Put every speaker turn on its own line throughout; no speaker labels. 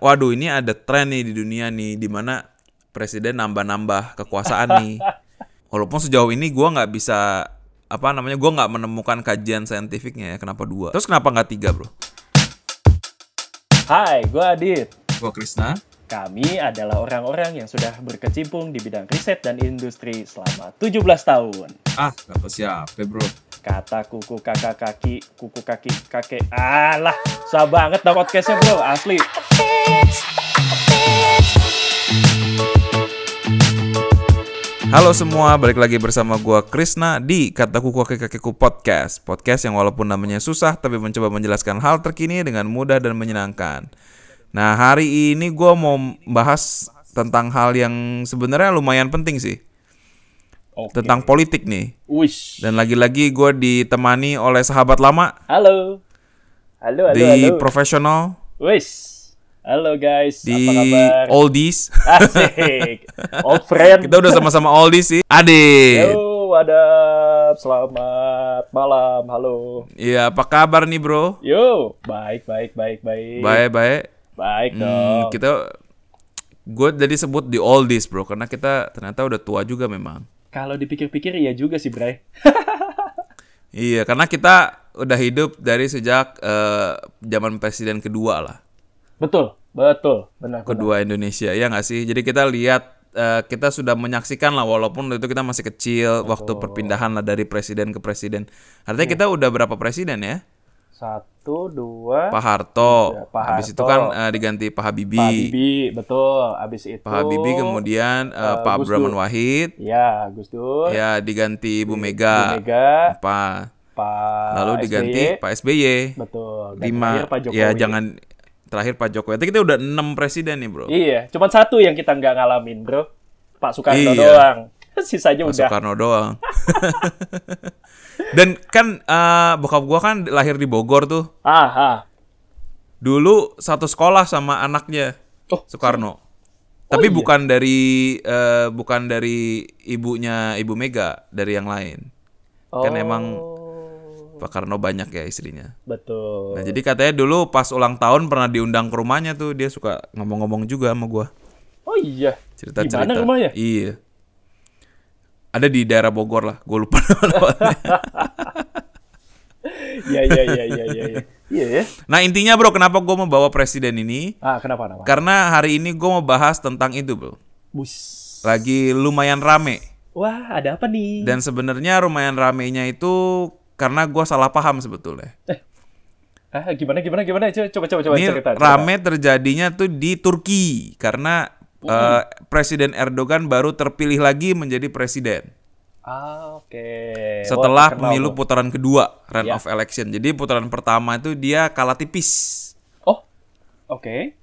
waduh ini ada tren nih di dunia nih di mana presiden nambah-nambah kekuasaan nih. Walaupun sejauh ini gua nggak bisa apa namanya gua nggak menemukan kajian saintifiknya ya kenapa dua. Terus kenapa nggak tiga bro?
Hai, gue Adit.
Gua Krisna.
Kami adalah orang-orang yang sudah berkecimpung di bidang riset dan industri selama 17 tahun.
Ah nggak siapa bro?
Kata kuku kakak kaki, kuku kaki kakek. Alah, susah banget dah podcastnya bro, asli.
Halo semua, balik lagi bersama gua Krisna di Kataku Kakek Kakekku Podcast. Podcast yang walaupun namanya susah tapi mencoba menjelaskan hal terkini dengan mudah dan menyenangkan. Nah, hari ini gua mau bahas tentang hal yang sebenarnya lumayan penting sih,
Oke.
tentang politik nih.
Wish.
Dan lagi-lagi gua ditemani oleh sahabat lama
Halo. Halo, halo,
di
halo.
profesional,
Wish. Halo guys,
di
apa kabar? Ah.
oldies.
Asik. Old friend.
Kita udah sama-sama oldies sih. Adit.
Yo, wadah. Selamat malam. Halo.
Iya, apa kabar nih, Bro?
Yo, baik, baik, baik, baik.
Baik-baik.
Baik
Hmm,
dong.
kita gue jadi sebut di oldies bro karena kita ternyata udah tua juga memang
Kalau dipikir-pikir iya juga sih, Bray.
iya karena kita udah hidup dari sejak eh, zaman presiden kedua lah
Betul, betul, benar. benar.
kedua Indonesia ya nggak sih jadi kita lihat eh, kita sudah menyaksikan lah walaupun waktu itu kita masih kecil waktu perpindahan lah dari presiden ke presiden artinya
Iya.
kita udah berapa presiden ya
Satu, dua,
Pak Harto
Iya, Pak
habis itu
Harto.
kan eh, diganti Pak
Pak
Habibie
Habibie, betul. Abis itu.
Pak Habibie kemudian eh, Pak
Gus Dur.
Abdurrahman Wahid
Ya, Gus Dur,
ya diganti Bu
Bu
Mega
Mega,
apa
Pak
lalu
SBY,
diganti Pak SBY
Betul. Dan
lima
terakhir Pak Jokowi.
ya jangan terakhir Pak Jokowi tapi kita udah enam presiden nih bro
Iya, cuma satu yang kita nggak ngalamin, bro. Pak Soekarno
Iya.
doang. Sisanya
Pak
udah.
Soekarno doang dan kan eh, bokap gua kan lahir di Bogor tuh
Ah, ah.
dulu satu sekolah sama anaknya
Oh, iya.
Soekarno tapi bukan dari eh, bukan dari ibunya Ibu Mega dari yang lain kan emang Pak Karno banyak ya istrinya
Oh. Betul.
Nah, jadi katanya dulu pas ulang tahun pernah diundang ke rumahnya tuh dia suka ngomong-ngomong juga sama gua.
Oh iya.
Cerita-cerita.
Di mana rumahnya?
Iya. Ada di daerah Bogor lah, gue lupa namanya.
Iya, iya, iya, iya, iya. iya. Iya ya.
nah, intinya bro, kenapa gue mau bawa presiden ini?
Ah, kenapa kenapa?
Karena hari ini gue mau bahas tentang itu, bro.
Bus.
Lagi lumayan rame.
Wah, ada apa nih?
Dan sebenarnya lumayan ramenya itu karena gue salah paham sebetulnya.
Ah, gimana gimana gimana? Coba coba coba, coba
Ini
cerita. cerita.
rame terjadinya tuh di Turki karena eh, Presiden Erdogan baru terpilih lagi menjadi presiden.
Ah, oke.
setelah
Wah, terkenal
pemilu
tuh.
putaran kedua round
Ya.
of election. Jadi putaran pertama itu dia kalah tipis.
Oh. Oke.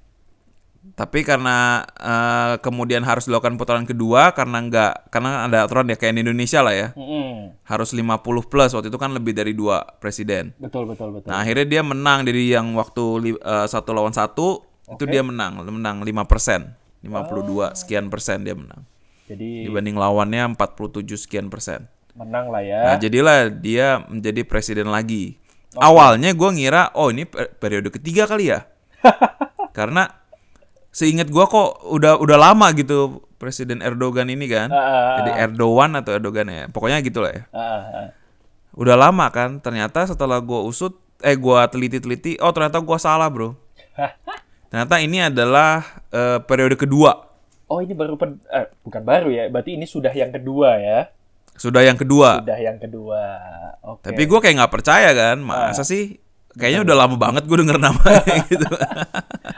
Tapi karena eh, kemudian harus dilakukan putaran kedua karena nggak karena ada aturan ya kayak di Indonesia lah ya.
Mm-mm.
Harus 50 plus waktu itu kan lebih dari dua presiden.
Betul betul betul.
Nah, akhirnya dia menang dari yang waktu li- eh, satu lawan satu itu dia menang, menang 5 persen. 52 sekian persen dia menang.
Jadi
Dibanding lawannya 47 sekian persen.
menang lah ya.
Nah, jadilah dia menjadi presiden lagi. Awalnya gue ngira, oh ini per- periode ketiga kali ya. Karena seingat gue kok udah udah lama gitu presiden Erdogan ini kan.
Ah, ah,
Jadi Erdogan atau Erdogan ya. Pokoknya gitu lah ya.
ah, ah, ah.
Udah lama kan. Ternyata setelah gue usut, eh gue teliti-teliti, oh ternyata gue salah bro. Ternyata ini adalah eh, periode kedua.
Oh, ini baru pen- eh, bukan baru ya. Berarti ini sudah yang kedua ya.
Sudah yang kedua.
Sudah yang kedua. Oke. Ah.
Tapi gue kayak nggak percaya kan, masa sih? Kayaknya udah lama banget gue denger namanya gitu.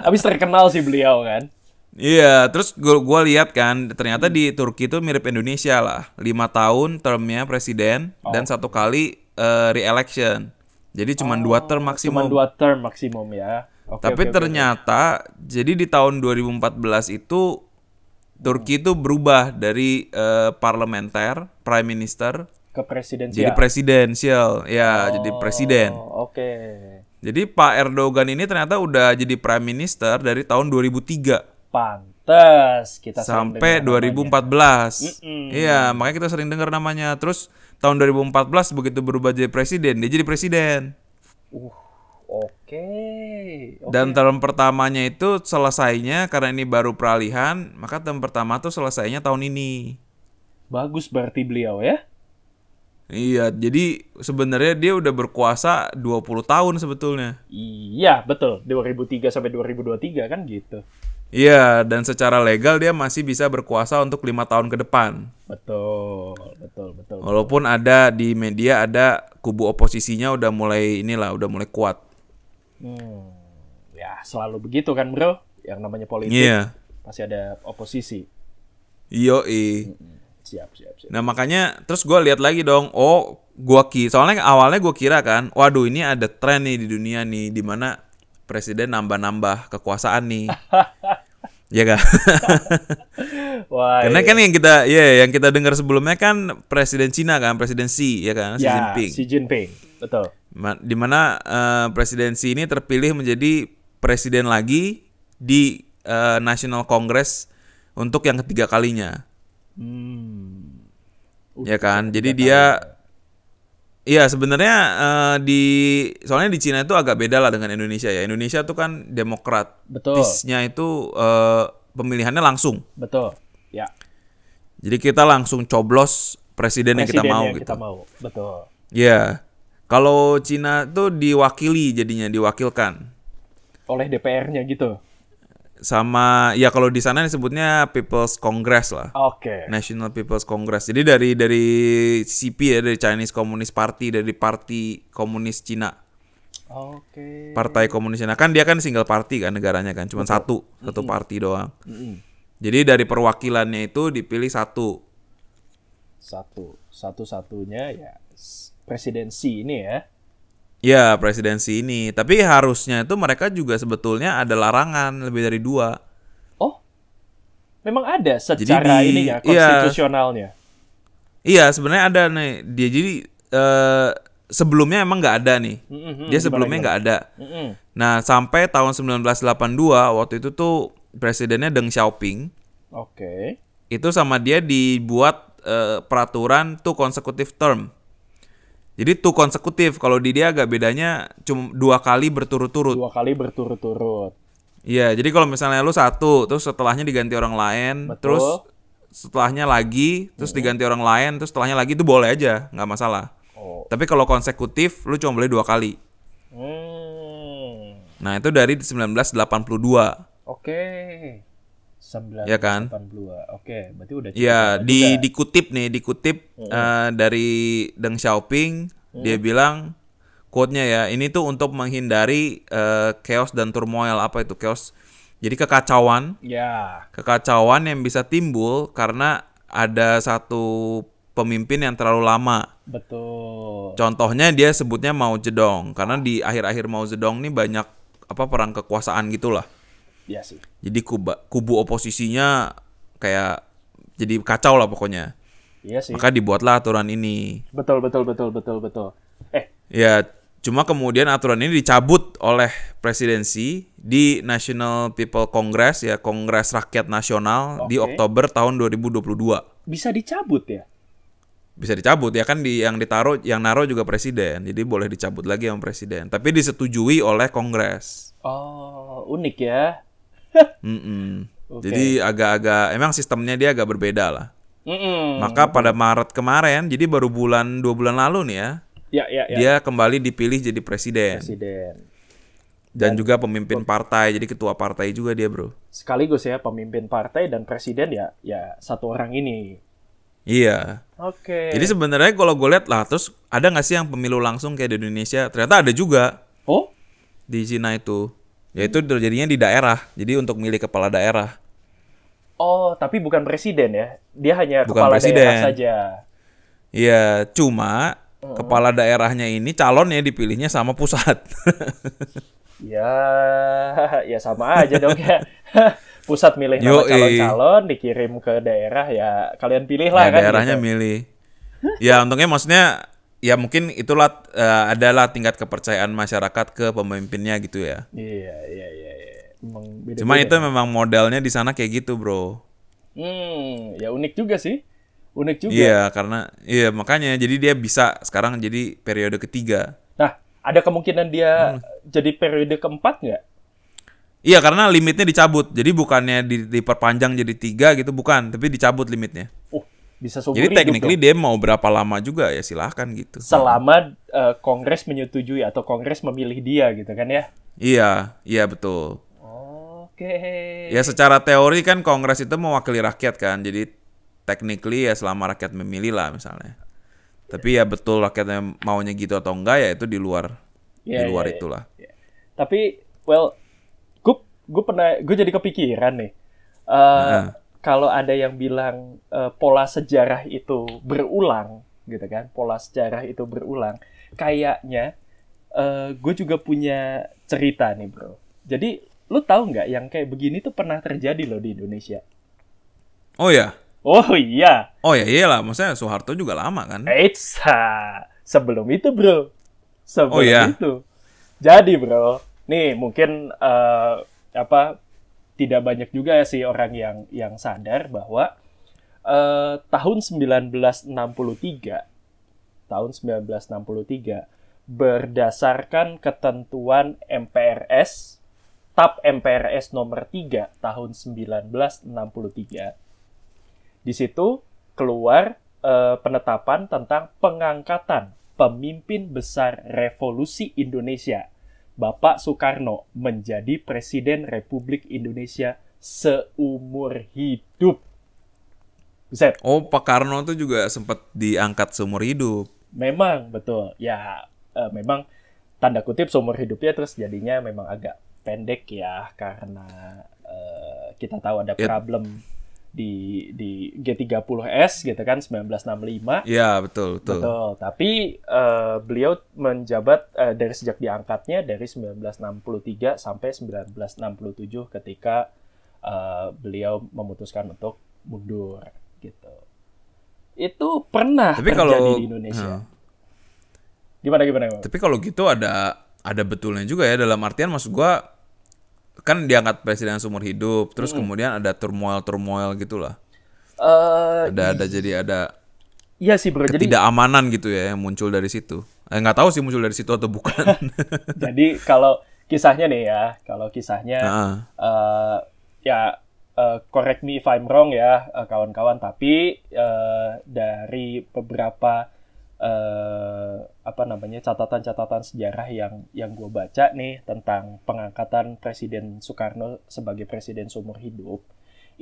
Habis terkenal sih beliau kan.
Iya, terus gue gua lihat kan, ternyata di Turki itu mirip Indonesia lah. Lima tahun termnya presiden
Oh.
dan satu kali eh, re-election. Jadi cuma dua term
Cuma
maksimum.
Oh, dua term maksimum ya. Oke,
Tapi
oke, oke.
ternyata jadi di tahun 2014 itu Turki itu berubah dari eh, parlementer, prime minister,
ke presidensial.
jadi presidensial. Ya, jadi presiden.
Oh, Oke.
Jadi Pak Erdogan ini ternyata udah jadi prime minister dari tahun 2003
Pantes kita sering
sampai
dengar namanya.
2014. Iya, makanya kita sering dengar namanya. Terus tahun 2014 begitu berubah jadi presiden, dia jadi presiden.
Uh, Oke. oke.
Dan term pertamanya itu selesainya karena ini baru peralihan, maka term pertama tuh selesainya tahun ini.
bagus berarti beliau ya.
Iya, jadi sebenarnya dia udah berkuasa 20 tahun sebetulnya.
Iya, betul. 2003 sampai 2023 kan gitu.
Iya, dan secara legal dia masih bisa berkuasa untuk lima tahun ke depan.
Betul, betul, betul.
Walaupun ada di media ada kubu oposisinya udah mulai inilah, udah mulai kuat.
Hmm. Ya, selalu begitu kan, Bro? Yang namanya politik
Iya.
pasti ada oposisi. Hmm,
Yoi.
Siap, siap, siap.
Nah, makanya terus gua lihat lagi dong. Oh, gua ki. Soalnya awalnya gua kira kan, waduh ini ada tren nih di dunia nih di mana presiden nambah-nambah kekuasaan nih. Ya kan?
Wah.
Karena
iya.
kan yang kita ya yang kita dengar sebelumnya kan presiden Cina kan, presiden Xi ya kan, Xi
ya,
Jinping.
Xi Jinping. Betul.
Ma- di mana eh, presidensi ini terpilih menjadi presiden lagi di eh, National Congress untuk yang ketiga kalinya,
Hmm.
ya kan? Jadi dia, iya sebenarnya eh, di soalnya di Cina itu agak beda lah dengan Indonesia ya. Indonesia tuh kan
Betul.
demokratisnya itu eh, pemilihannya langsung,
Betul. Ya.
jadi kita langsung coblos presiden yang kita
presiden
mau
yang
gitu.
kita mau. Betul.
Ya, kalau Cina tuh diwakili jadinya diwakilkan.
Oleh DPR-nya gitu.
sama ya kalau di sana disebutnya People's Congress lah.
Oke.
National People's Congress. Jadi dari dari CP ya dari Chinese Communist Party dari Parti Komunis Cina.
Oke.
Partai Komunis Cina kan dia kan single party kan negaranya kan cuma satu, satu party doang.
Mm-mm.
Jadi dari perwakilannya itu dipilih satu.
Satu. Satu-satunya ya s- presidensi ini ya.
Ya, presidensi ini. Tapi harusnya itu mereka juga sebetulnya ada larangan lebih dari dua.
Oh. Memang ada secara
di-
ini
iya.
ya konstitusionalnya.
Iya, sebenarnya ada nih. Dia jadi eh, sebelumnya emang nggak ada nih.
Mm-mm,
Dia sebelumnya nggak ada.
Mm-mm.
Nah, sampai tahun 1982 waktu itu tuh presidennya Deng Xiaoping
Oke.
itu sama dia dibuat eh, peraturan tuh consecutive term. Jadi tuh konsekutif kalau di dia agak bedanya cuma dua kali berturut-turut.
Dua kali berturut-turut.
Iya, jadi kalau misalnya lu satu, terus setelahnya diganti orang lain,
Betul. Iya.
terus setelahnya lagi, terus diganti orang lain, terus setelahnya lagi itu boleh aja, nggak masalah.
Oh.
Tapi kalau konsekutif lu cuma boleh dua kali.
Hmm.
Nah, itu dari 1982.
Oke. 1982.
Iya kan?
Oke, berarti udah cukup
Iya,
lama
di
juga.
dikutip nih, dikutip eh, dari Deng Xiaoping, dia bilang quote-nya ya, ini tuh untuk menghindari eh, chaos dan turmoil apa itu chaos. Jadi kekacauan,
Ya.
kekacauan yang bisa timbul karena ada satu pemimpin yang terlalu lama.
Betul.
Contohnya dia sebutnya Mao Zedong karena di akhir-akhir Mao Zedong nih banyak apa perang kekuasaan gitulah.
Ya sih.
Jadi kuba- kubu oposisinya kayak jadi kacau lah pokoknya.
Iya sih.
Maka dibuatlah aturan ini.
Betul, betul, betul, betul, betul. Eh,
Ya, cuma kemudian aturan ini dicabut oleh presidensi di National People Congress ya, Kongres Rakyat Nasional di
Oke.
Oktober tahun 2022.
bisa dicabut ya?
Bisa dicabut ya kan di yang ditaruh yang naruh juga presiden. Jadi boleh dicabut lagi sama presiden, tapi disetujui oleh kongres.
Oh, unik ya.
Mm-mm.
Oke.
Jadi agak-agak emang sistemnya dia agak berbeda lah.
Mm-mm.
Maka pada Maret kemarin, jadi baru bulan dua bulan lalu nih ya,
ya, ya, ya.
dia kembali dipilih jadi presiden.
Presiden.
dan juga pemimpin partai jadi ketua partai juga dia bro
Sekaligus ya pemimpin partai dan presiden ya, ya satu orang ini.
iya
Oke.
jadi sebenarnya kalau gue lihat lah terus ada nggak sih yang pemilu langsung kayak di Indonesia ternyata ada juga
Oh,
di Cina itu yaitu terjadinya di daerah jadi untuk milih kepala daerah
oh, tapi bukan presiden ya. Dia hanya
Bukan
kepala daerah
presiden.
saja.
iya cuma
Oh.
kepala daerahnya ini calonnya dipilihnya sama pusat
Ya, ya sama aja dong ya. Pusat milih nama
Yoi.
calon-calon, dikirim ke daerah ya kalian pilih lah
Nah,
kan.
daerahnya
gitu.
milih ya untungnya maksudnya ya mungkin itulah eh, adalah tingkat kepercayaan masyarakat ke pemimpinnya gitu ya
Iya, iya, iya. iya. Emang beda-beda.
cuma itu memang modelnya di sana kayak gitu bro
Hmm, ya unik juga sih. Unik juga.
Iya, karena iya makanya jadi dia bisa sekarang jadi periode ketiga.
Nah, Ada kemungkinan
Hmm.
dia jadi periode keempat nggak?
Iya karena limitnya dicabut, jadi bukannya di- diperpanjang jadi tiga gitu bukan, tapi dicabut limitnya.
Uh, bisa seumur
Jadi
hidup
technically
dong.
dia mau berapa lama juga ya silahkan gitu.
selama eh, Kongres menyetujui atau Kongres memilih dia gitu kan ya?
Iya, iya betul.
Oke.
Ya secara teori kan Kongres itu mewakili rakyat kan, jadi technically ya selama rakyat memilih lah misalnya. Tapi ya betul rakyatnya maunya gitu atau enggak ya itu di luar,
Iya,
di luar
iya, iya.
itulah.
Tapi well, gue gue pernah gue jadi kepikiran nih. Eh,
Nah.
Kalau ada yang bilang eh, pola sejarah itu berulang, gitu kan? Pola sejarah itu berulang. Kayaknya gue juga punya cerita nih bro. Jadi lu tahu nggak yang kayak begini tuh pernah terjadi loh di Indonesia?
Oh ya,
Oh iya,
oh ya iyalah, maksudnya Soeharto juga lama kan?
Eits, ha. sebelum itu bro,
Oh,
sebelum
iya?
itu. Jadi bro, nih mungkin eh, apa tidak banyak juga sih orang yang yang sadar bahwa eh, tahun 1963, tahun 1963 berdasarkan ketentuan MPRS TAP MPRS nomor 3 tahun 1963 di situ keluar eh, penetapan tentang pengangkatan pemimpin besar revolusi Indonesia, Bapak Soekarno menjadi presiden Republik Indonesia seumur hidup. Buset,
Oh Pak Karno tuh juga sempat diangkat seumur hidup.
memang betul. Ya, eh, memang tanda kutip seumur hidupnya terus jadinya memang agak pendek ya karena eh, kita tahu ada
Yep.
problem di di G30S gitu kan 1965
Iya betul betul.
Betul, tapi eh, beliau menjabat eh, dari sejak diangkatnya dari 1963 sampai 1967 ketika eh, beliau memutuskan untuk mundur gitu. Itu pernah
Tapi
terjadi
kalau
di Indonesia.
Nah.
Gimana gimana? gimana?
Tapi kalau gitu ada ada betulnya juga ya dalam artian maksud gua kan diangkat presiden seumur hidup, terus
Hmm.
kemudian ada turmoil-turmoil gitulah.
Eh,
Ada ada jadi ada
iya sih bro, jadi
ketidakamanan gitu ya yang muncul dari situ. Eh nggak tahu sih muncul dari situ atau bukan.
jadi kalau kisahnya nih ya, kalau kisahnya
Heeh.
eh ya eh, correct me if I'm wrong ya eh, kawan-kawan tapi eh, dari beberapa eh apa namanya catatan-catatan sejarah yang yang gue baca nih tentang pengangkatan Presiden Soekarno sebagai Presiden seumur hidup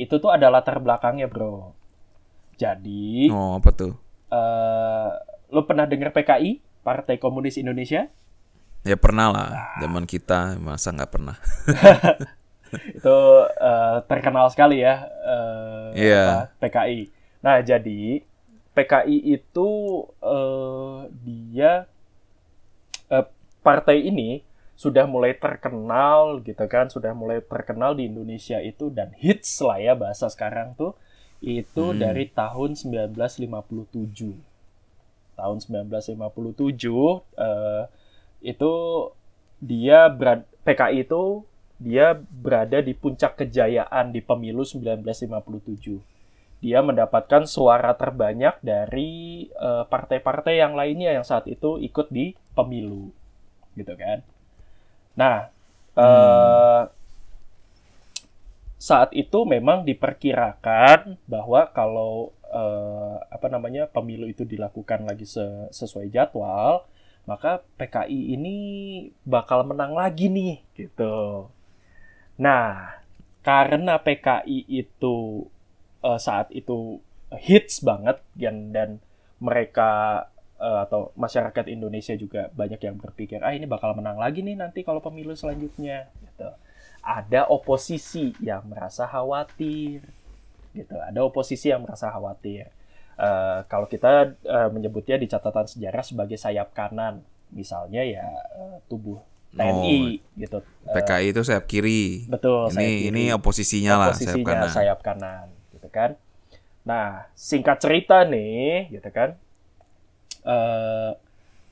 itu tuh ada latar belakangnya bro jadi
Oh, apa tuh?
eh, lo pernah dengar PKI Partai Komunis Indonesia
Ya pernah lah, zaman kita masa nggak pernah.
itu eh, terkenal sekali ya eh,
Iya.
apa, PKI. Nah jadi PKI itu eh, dia eh, partai ini sudah mulai terkenal gitu kan, sudah mulai terkenal di Indonesia itu dan hits lah ya bahasa sekarang tuh itu
Hmm.
dari tahun 1957 tahun 1957 eh, itu dia berad- PKI itu dia berada di puncak kejayaan di pemilu 1957. Dia mendapatkan suara terbanyak dari eh, partai-partai yang lainnya yang saat itu ikut di pemilu, gitu kan? Nah, eh, saat itu memang diperkirakan bahwa kalau eh, apa namanya pemilu itu dilakukan lagi se- sesuai jadwal, maka PKI ini bakal menang lagi nih gitu. Nah, karena PKI itu eh, saat itu hits banget dan dan mereka eh, atau masyarakat Indonesia juga banyak yang berpikir ah ini bakal menang lagi nih nanti kalau pemilu selanjutnya gitu. Ada oposisi yang merasa khawatir gitu. Ada oposisi yang merasa khawatir. Eh, kalau kita eh, menyebutnya di catatan sejarah sebagai sayap kanan, misalnya ya eh, tubuh TNI gitu. Eh,
PKI itu sayap kiri. ini
Betul. sayap
ini
kiri.
oposisinya, lah sayap
Posisinya
kanan.
sayap kanan, gitu kan. Nah, singkat cerita nih, gitu kan. Eh,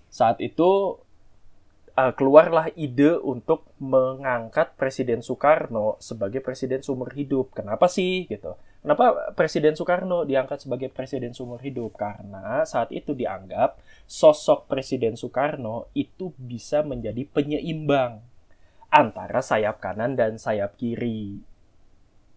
saat itu eh, keluarlah ide untuk mengangkat Presiden Soekarno sebagai Presiden Sumber Hidup. Kenapa sih gitu? Kenapa Presiden Soekarno diangkat sebagai Presiden Sumber Hidup? Karena saat itu dianggap sosok Presiden Soekarno itu bisa menjadi penyeimbang antara sayap kanan dan sayap kiri.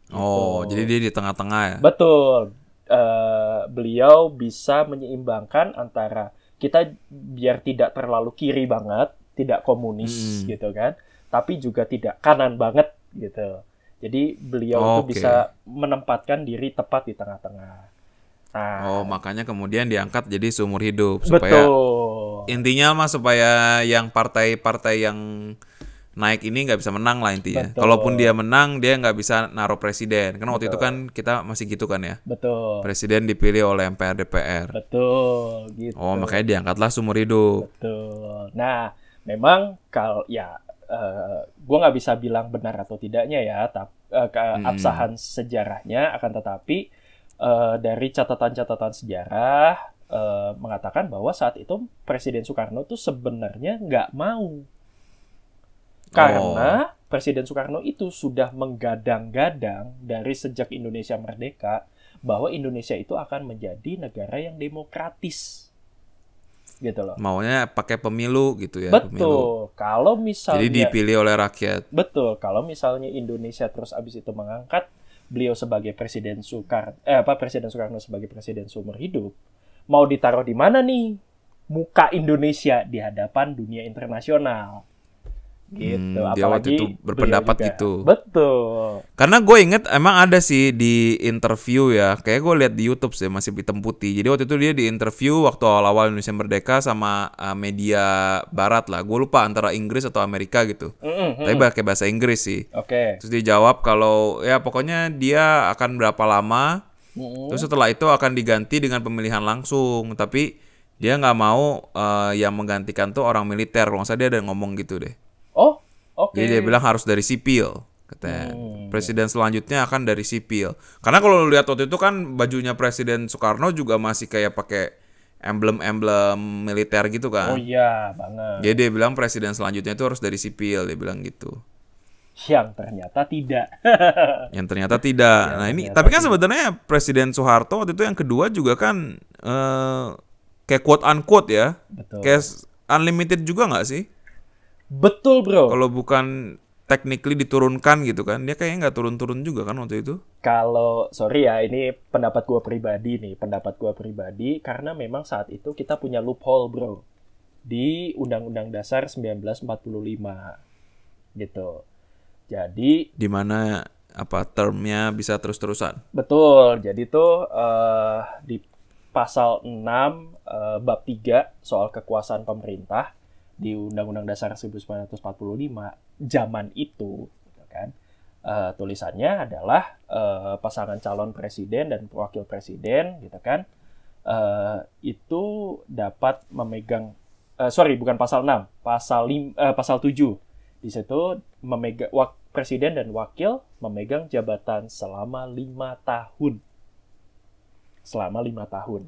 Oh,
Gitu.
jadi dia di tengah-tengah ya.
Betul. Eh, beliau bisa menyeimbangkan antara kita biar tidak terlalu kiri banget, tidak komunis
Hmm.
gitu kan, tapi juga tidak kanan banget gitu. Jadi beliau
Oke.
itu bisa menempatkan diri tepat di tengah-tengah. Nah,
Oh, makanya kemudian diangkat jadi seumur hidup supaya Ya.
betul.
intinya mah supaya yang partai-partai yang naik ini nggak bisa menang lah intinya.
Betul.
Kalaupun dia menang, dia nggak bisa naruh presiden. Karena waktu itu
Betul.
kan kita masih gitu kan ya.
Betul.
Presiden dipilih oleh MPR DPR.
Betul gitu.
Oh, makanya diangkatlah seumur hidup.
Betul. Nah, memang kalau ya eh, gua nggak bisa bilang benar atau tidaknya ya, tapi
Mm-mm.
keabsahan sejarahnya akan tetapi eh, dari catatan-catatan sejarah eh, mengatakan bahwa saat itu Presiden Soekarno tuh sebenarnya nggak mau karena Presiden Soekarno itu sudah menggadang-gadang dari sejak Indonesia merdeka bahwa Indonesia itu akan menjadi negara yang demokratis gitu loh
Oh, Maunya pakai pemilu gitu ya, pemilu.
Betul. Kalau
Jadi
misalnya
dipilih oleh rakyat.
betul, kalau misalnya Indonesia terus abis itu mengangkat beliau sebagai presiden Soekarno eh apa presiden Soekarno sebagai presiden sumber hidup, mau ditaruh di mana nih? Muka Indonesia di hadapan dunia internasional. Gitu.
Hmm, dia waktu
Apalagi
itu
beliau
berpendapat
juga-
gitu.
Betul.
Karena gue inget emang ada sih di interview ya, kayak gue lihat di YouTube sih masih hitam putih. Jadi waktu itu dia di interview waktu awal-awal Indonesia Merdeka sama uh, media Barat lah. Gue lupa antara Inggris atau Amerika gitu.
Mm-mm,
Tapi
mm.
pakai bahasa Inggris sih.
Oke.
Terus dia jawab kalau ya pokoknya dia akan berapa lama.
Mm-mm.
Terus setelah itu akan diganti dengan pemilihan langsung. Tapi dia nggak mau uh, yang menggantikan tuh orang militer. Kalau nggak salah dia ada ngomong gitu deh.
Oh, oke. Oh.
Jadi dia bilang harus dari sipil, katanya. Presiden selanjutnya akan dari sipil. Karena kalau lu lihat waktu itu kan bajunya Presiden Soekarno juga masih kayak pakai emblem-emblem militer gitu
Oh
kan.
iya, banget.
Jadi dia bilang presiden selanjutnya itu harus dari sipil, dia bilang gitu.
Yang ternyata tidak. Iya.
Yang ternyata tidak. nah ini, tapi kan sebenarnya Presiden Soeharto waktu itu yang kedua juga kan eh kayak quote unquote ya,
Betul.
kayak unlimited juga nggak sih?
Betul, Bro.
Kalau bukan technically diturunkan gitu kan, dia kayaknya nggak turun-turun juga kan waktu itu.
kalau sorry ya ini pendapat gua pribadi nih pendapat gua pribadi karena memang saat itu kita punya loophole bro di Undang-Undang Dasar 1945 gitu jadi
di mana apa termnya bisa terus-terusan.
betul jadi tuh eh, di pasal 6 eh, bab 3 soal kekuasaan pemerintah di Undang-Undang Dasar 1945 zaman itu gitu kan eh, tulisannya adalah eh, pasangan calon presiden dan wakil presiden gitu kan eh, itu dapat memegang eh, sorry bukan pasal 6 pasal lim- eh, pasal 7 di situ memegang wak- presiden dan wakil memegang jabatan selama lima tahun selama lima tahun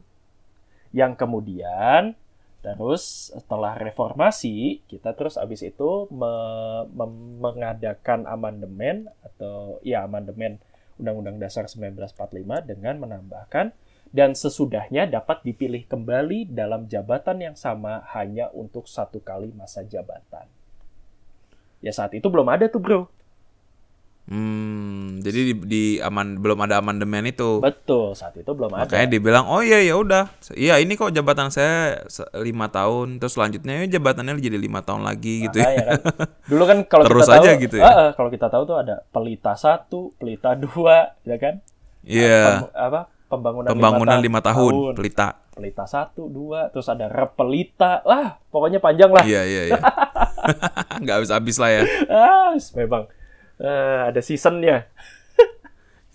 yang kemudian terus setelah reformasi kita terus abis itu me- mem- mengadakan amandemen atau ya amandemen Undang-Undang Dasar 1945 dengan menambahkan dan sesudahnya dapat dipilih kembali dalam jabatan yang sama hanya untuk satu kali masa jabatan. Ya saat itu belum ada tuh bro.
Hmm, jadi di, di aman belum ada amandemen itu.
Betul saat itu belum ada.
Makanya dibilang, "Oh iya ya udah. Iya, ini kok jabatan saya se- lima tahun, terus selanjutnya ya jabatannya jadi lima tahun lagi gitu ya."
Makanya kan. Dulu kan kalau
Terus
kita
aja
tahu,
gitu ya?
Ah, ah, kalau kita tahu tuh ada pelita satu, pelita dua, ya kan?
Iya.
Pem- apa pembangunan,
Pembangunan
ta-
lima tahun, pelita.
Pelita satu, dua, terus ada repelita, lah pokoknya panjang lah.
Iya, iya, iya. Nggak habis-habis lah ya.
Ah, memang Eh, ada seasonnya.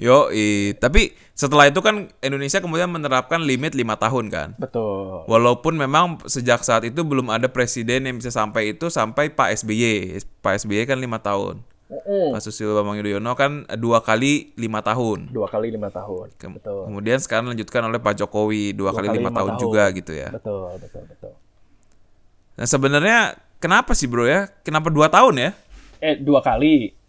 Yo, tapi setelah itu kan Indonesia kemudian menerapkan limit lima tahun kan.
Betul.
Walaupun memang sejak saat itu belum ada presiden yang bisa sampai itu sampai Pak SBY. Pak SBY kan lima tahun.
Mm-mm.
Pak Susilo Bambang Yudhoyono kan dua kali lima tahun.
Dua kali lima tahun.
Kem- ya.
Betul.
Kemudian sekarang dilanjutkan oleh Pak Jokowi dua, kali lima tahun, juga gitu ya.
Betul, betul, betul.
Nah sebenarnya kenapa sih bro ya? Kenapa dua tahun ya?
Eh dua kali.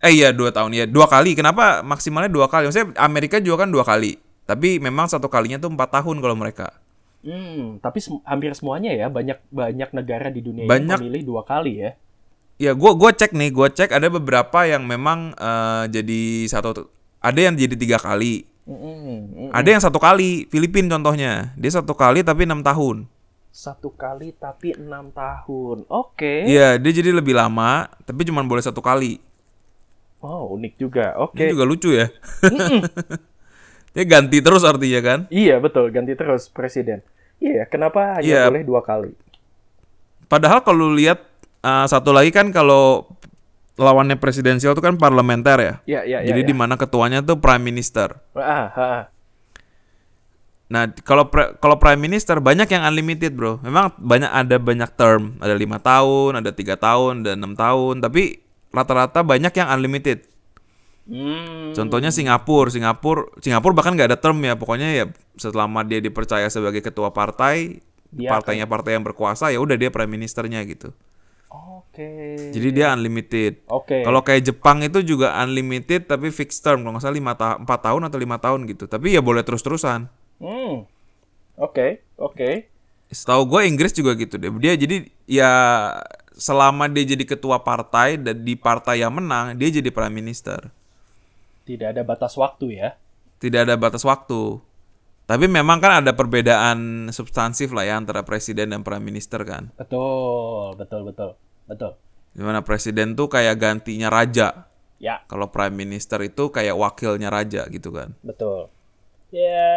Eh iya dua tahun ya dua kali. Kenapa maksimalnya dua kali? Maksudnya Amerika juga kan dua kali. Tapi memang satu kalinya tuh empat tahun kalau mereka.
Hmm, tapi sem- hampir semuanya ya banyak banyak negara di dunia
Banyak.
ini memilih dua kali ya.
Ya gue gua cek nih, gue cek ada beberapa yang memang eh, jadi satu, ada yang jadi tiga kali,
Mm-mm, mm.
ada yang satu kali. Filipin contohnya, dia satu kali tapi enam tahun.
Satu kali tapi enam tahun. Oke.
Iya, dia jadi lebih lama, tapi cuma boleh satu kali.
Oh unik juga. Oke.
Ini juga lucu ya. dia ganti terus artinya kan?
Iya betul ganti terus presiden. Iya kenapa hanya
Iya.
boleh dua kali?
Padahal kalau lu lihat eh, satu lagi kan kalau lawannya presidensial itu kan parlementer ya.
Iya iya.
jadi di mana ketuanya tuh prime minister.
Ah, ah, ah.
Nah, kalau pre- kalau prime minister banyak yang unlimited, Bro. Memang banyak ada banyak term, ada lima tahun, ada tiga tahun, ada enam tahun, tapi rata-rata banyak yang unlimited.
Hmm.
Contohnya Singapura, Singapura, Singapura bahkan nggak ada term ya, pokoknya ya selama dia dipercaya sebagai ketua partai,
Dia
partainya partai yang berkuasa ya udah dia prime ministernya gitu.
Oke.
Jadi dia unlimited.
Oke.
Kalau kayak Jepang itu juga unlimited tapi fixed term, kalau nggak salah lima ta- empat tahun atau lima tahun gitu. Tapi ya boleh terus-terusan.
Hmm. Oke, oke.
Setahu gue Inggris juga gitu deh. Dia jadi ya selama dia jadi ketua partai dan di partai yang menang dia jadi prime minister.
Tidak ada batas waktu ya.
Tidak ada batas waktu. Tapi memang kan ada perbedaan substansif lah ya antara presiden dan prime minister kan.
Betul, betul, betul. Betul.
Dimana presiden tuh kayak gantinya raja.
Ya,
Kalau prime minister itu kayak wakilnya raja gitu kan.
betul. Ya,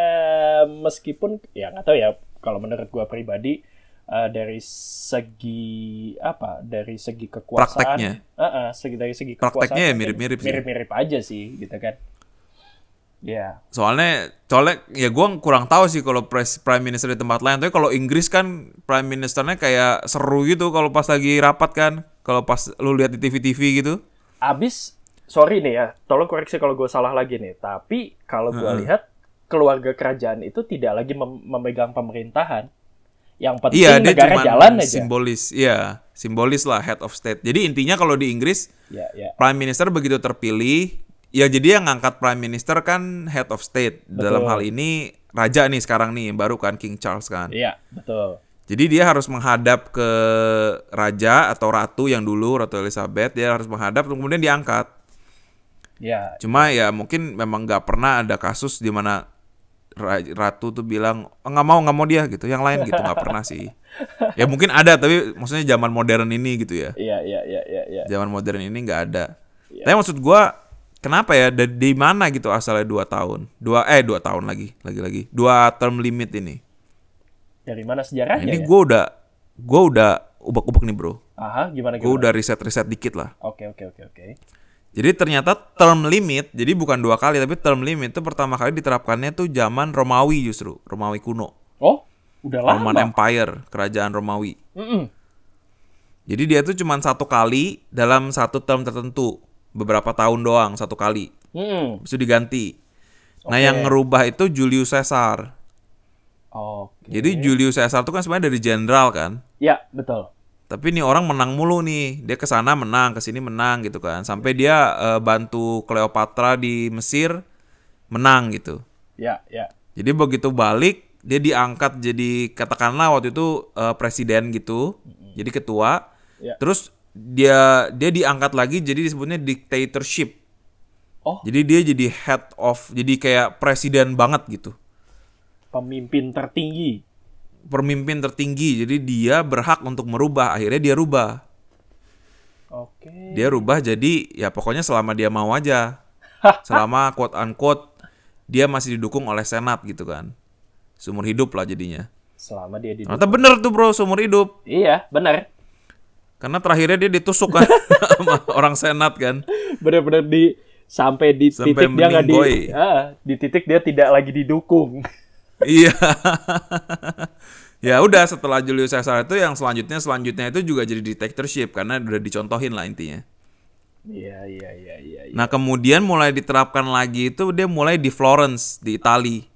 meskipun ya nggak tahu ya kalau menurut gua pribadi eh, dari segi apa? Dari segi kekuasaan.
Prakteknya.
Eh, eh, segi dari segi kekuasaan.
Prakteknya ya
mungkin
mirip-mirip sih.
Mirip-mirip aja sih, gitu kan. Ya.
Soalnya colek ya gua kurang tahu sih kalau pres- prime minister di tempat lain. Tapi kalau Inggris kan prime ministernya kayak seru gitu kalau pas lagi rapat kan. Kalau pas lu lihat di TV-TV gitu.
Abis, sorry nih ya, tolong koreksi kalau gue salah lagi nih. Tapi kalau gue lihat keluarga kerajaan itu tidak lagi mem- memegang pemerintahan. Yang penting
Iya, dia cuma
negara jalan aja.
simbolis. Iya, simbolis lah head of state. Jadi intinya kalau di Inggris
Ya, ya,
prime minister begitu terpilih, ya jadi yang ngangkat prime minister kan head of state. Dalam hal ini raja nih sekarang nih baru kan King Charles kan.
iya, betul.
Jadi dia harus menghadap ke raja atau ratu yang dulu Ratu Elizabeth, dia harus menghadap kemudian diangkat.
Ya,
Cuma ya mungkin memang nggak pernah ada kasus di mana ra- ratu tuh bilang "Oh, nggak mau nggak mau dia gitu, yang lain gitu nggak pernah sih. Ya mungkin ada tapi maksudnya zaman modern ini gitu ya,
ya, ya, ya, ya, ya.
zaman modern ini nggak ada. Tapi maksud gua kenapa ya dari di mana gitu asalnya dua tahun, dua eh dua tahun lagi lagi lagi dua term limit ini.
Dari
Nah,
mana sejarahnya?
ini
ya?
gua udah gua udah ubak-ubak nih bro.
Aha, gimana
gue
gimana?
udah riset-riset dikit lah.
Oke, oke, oke, oke.
Jadi ternyata term limit, jadi bukan dua kali tapi term limit itu pertama kali diterapkannya tuh zaman Romawi justru, Romawi kuno,
Oh, udah lama.
Roman Empire, kerajaan Romawi.
Mm-mm.
Jadi dia tuh cuma satu kali dalam satu term tertentu, beberapa tahun doang satu kali,
Mm-mm.
habis itu diganti. Nah yang ngerubah itu Julius Caesar.
Oke.
Jadi Julius Caesar tuh kan sebenarnya dari jenderal kan,
Oh, Ya, betul.
Tapi nih orang menang mulu nih. Dia ke sana menang, ke sini menang gitu kan. Sampai dia eh, bantu Cleopatra di Mesir menang gitu.
Ya, ya.
Jadi begitu balik dia diangkat jadi katakanlah waktu itu eh, presiden gitu. Jadi ketua.
Ya.
Terus dia dia diangkat lagi jadi disebutnya dictatorship.
Oh.
Jadi dia jadi head of jadi kayak presiden banget gitu.
Pemimpin tertinggi.
Pemimpin tertinggi. Jadi dia berhak untuk merubah. Akhirnya dia rubah.
Oke.
dia rubah jadi ya pokoknya selama dia mau aja selama quote unquote dia masih didukung oleh senat gitu kan seumur hidup lah jadinya
Selama dia di
ternyata bener tuh bro seumur hidup
Iya, benar.
karena terakhirnya dia ditusuk kan sama orang senat kan
Benar-benar di sampai di
Sampai
titik dia nggak di
meninggoy.
Ah, di titik dia tidak lagi didukung.
iya ya udah setelah Julius Caesar itu yang selanjutnya selanjutnya itu juga jadi dictatorship karena udah dicontohin lah intinya
Iya, iya, iya, iya. iya.
nah kemudian mulai diterapkan lagi itu dia mulai di Florence di Italia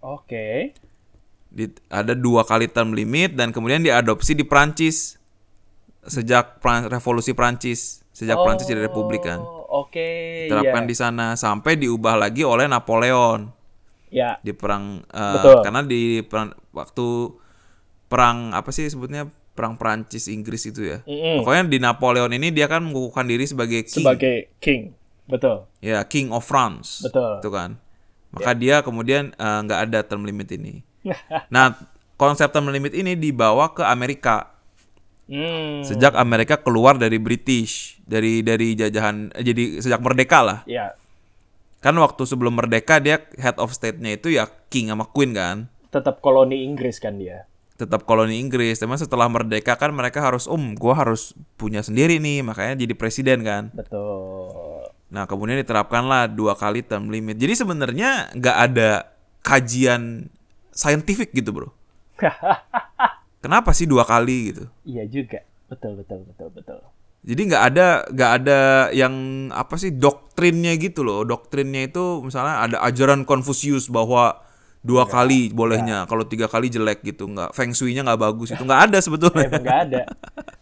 Oke.
Di- ada dua kali term limit dan kemudian diadopsi di Prancis. sejak Pran- revolusi Prancis, sejak Prancis jadi republik kan.
Oh, Oke. iya.
Diterapkan di sana sampai diubah lagi oleh Napoleon
Ya.
di perang eh,
Betul.
karena di perang, waktu perang apa sih sebutnya perang Prancis Inggris itu ya.
Ya. Mm-mm.
Pokoknya di Napoleon ini dia kan mengukuhkan diri sebagai king,
Sebagai king. Betul.
ya King of France.
Betul. Ya.
Itu kan. Maka dia kemudian eh, nggak ada term limit ini. nah, konsep term limit ini dibawa ke Amerika
Hmm.
sejak Amerika keluar dari British, dari dari jajahan eh, jadi sejak merdeka lah.
Ya.
Kan waktu sebelum merdeka dia head of state-nya itu ya king sama queen kan.
Tetap koloni Inggris kan dia.
Tetap koloni Inggris, tapi setelah merdeka kan mereka harus um, gua harus punya sendiri nih, makanya jadi presiden kan.
Betul.
Nah, kemudian diterapkanlah dua kali term limit. Jadi sebenarnya nggak ada kajian saintifik gitu, Bro. Kenapa sih dua kali gitu?
Iya juga. Betul, betul, betul, betul.
Jadi nggak ada nggak ada yang apa sih doktrinnya gitu loh. Doktrinnya itu misalnya ada ajaran Konfusius bahwa dua
Ya.
kali bolehnya, kalau tiga kali jelek gitu, nggak feng shui-nya nggak bagus itu nggak ada sebetulnya.
Emang nggak ada.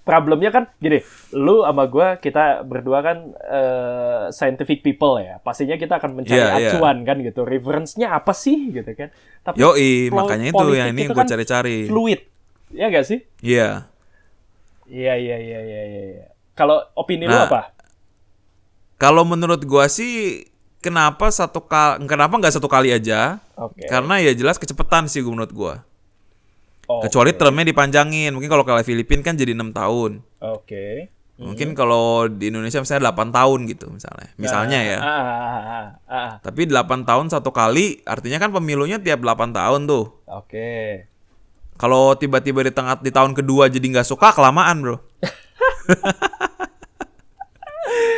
Problemnya kan gini, lu sama gua kita berdua kan eh, scientific people ya. Pastinya kita akan mencari
Iya, iya.
acuan kan gitu. Reference-nya apa sih gitu kan. Tapi
Yoi,
kalau
makanya itu
politik
yang ini
itu
gue
kan
cari-cari.
fluid. Iya nggak sih?
Iya.
Iya, iya, iya, iya, iya. iya. Kalau opini lu
Nah.
apa?
Kalau menurut gua sih kenapa satu kali kenapa nggak satu kali aja?
Oke.
Karena ya jelas kecepetan sih menurut gua.
Oh,
Kecuali termnya dipanjangin. Mungkin kalau kayak Filipin kan jadi enam tahun.
Oke.
Mungkin kalau di Indonesia misalnya 8 tahun gitu misalnya. Misalnya ya.
Ah, ah, ah, ah, ah, ah.
Tapi 8 tahun satu kali artinya kan pemilunya tiap 8 tahun tuh.
Oke.
Kalau tiba-tiba di tengah di tahun kedua jadi nggak suka kelamaan, Bro.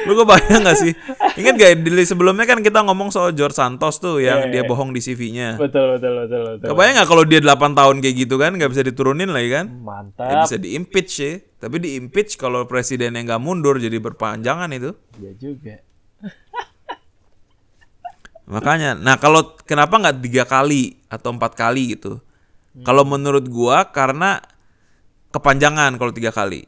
Lu kebayang nggak sih? Ingat gak di sebelumnya kan kita ngomong soal George Santos tuh yang
Iya,
dia bohong di CV-nya.
Betul, betul, betul, betul.
Kebayang nggak kalau dia 8 tahun kayak gitu kan nggak bisa diturunin lagi kan? Ya
Mantap.
bisa di impeach sih, tapi di impeach kalau presiden yang nggak mundur jadi berpanjangan itu.
Iya juga.
Makanya, nah kalau kenapa nggak tiga kali atau empat kali gitu? Kalau menurut gua karena kepanjangan kalau tiga kali.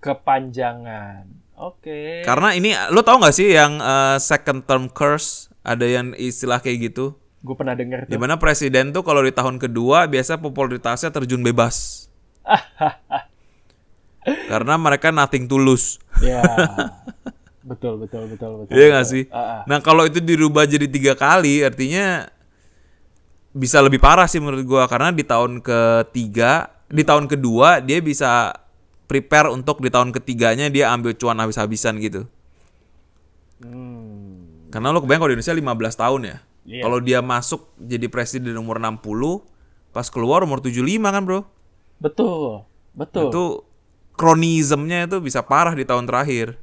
Kepanjangan. Oke.
Karena ini lo tau nggak sih yang eh, second term curse ada yang istilah kayak gitu?
Gue pernah dengar tuh.
Dimana presiden tuh kalau di tahun kedua biasa popularitasnya terjun bebas. Karena mereka nothing tulus.
Ya. betul, betul, betul, betul.
Iya nggak sih?
Ah, ah.
Nah kalau itu dirubah jadi tiga kali, artinya bisa lebih parah sih menurut gua karena di tahun ketiga, di tahun kedua dia bisa prepare untuk di tahun ketiganya dia ambil cuan habis-habisan gitu.
Hmm.
Karena lo kebayang kalau di Indonesia 15 tahun ya.
Iya.
Kalau dia masuk jadi presiden umur 60, pas keluar umur 75 kan bro.
Betul. Betul.
Itu kronismnya itu bisa parah di tahun terakhir.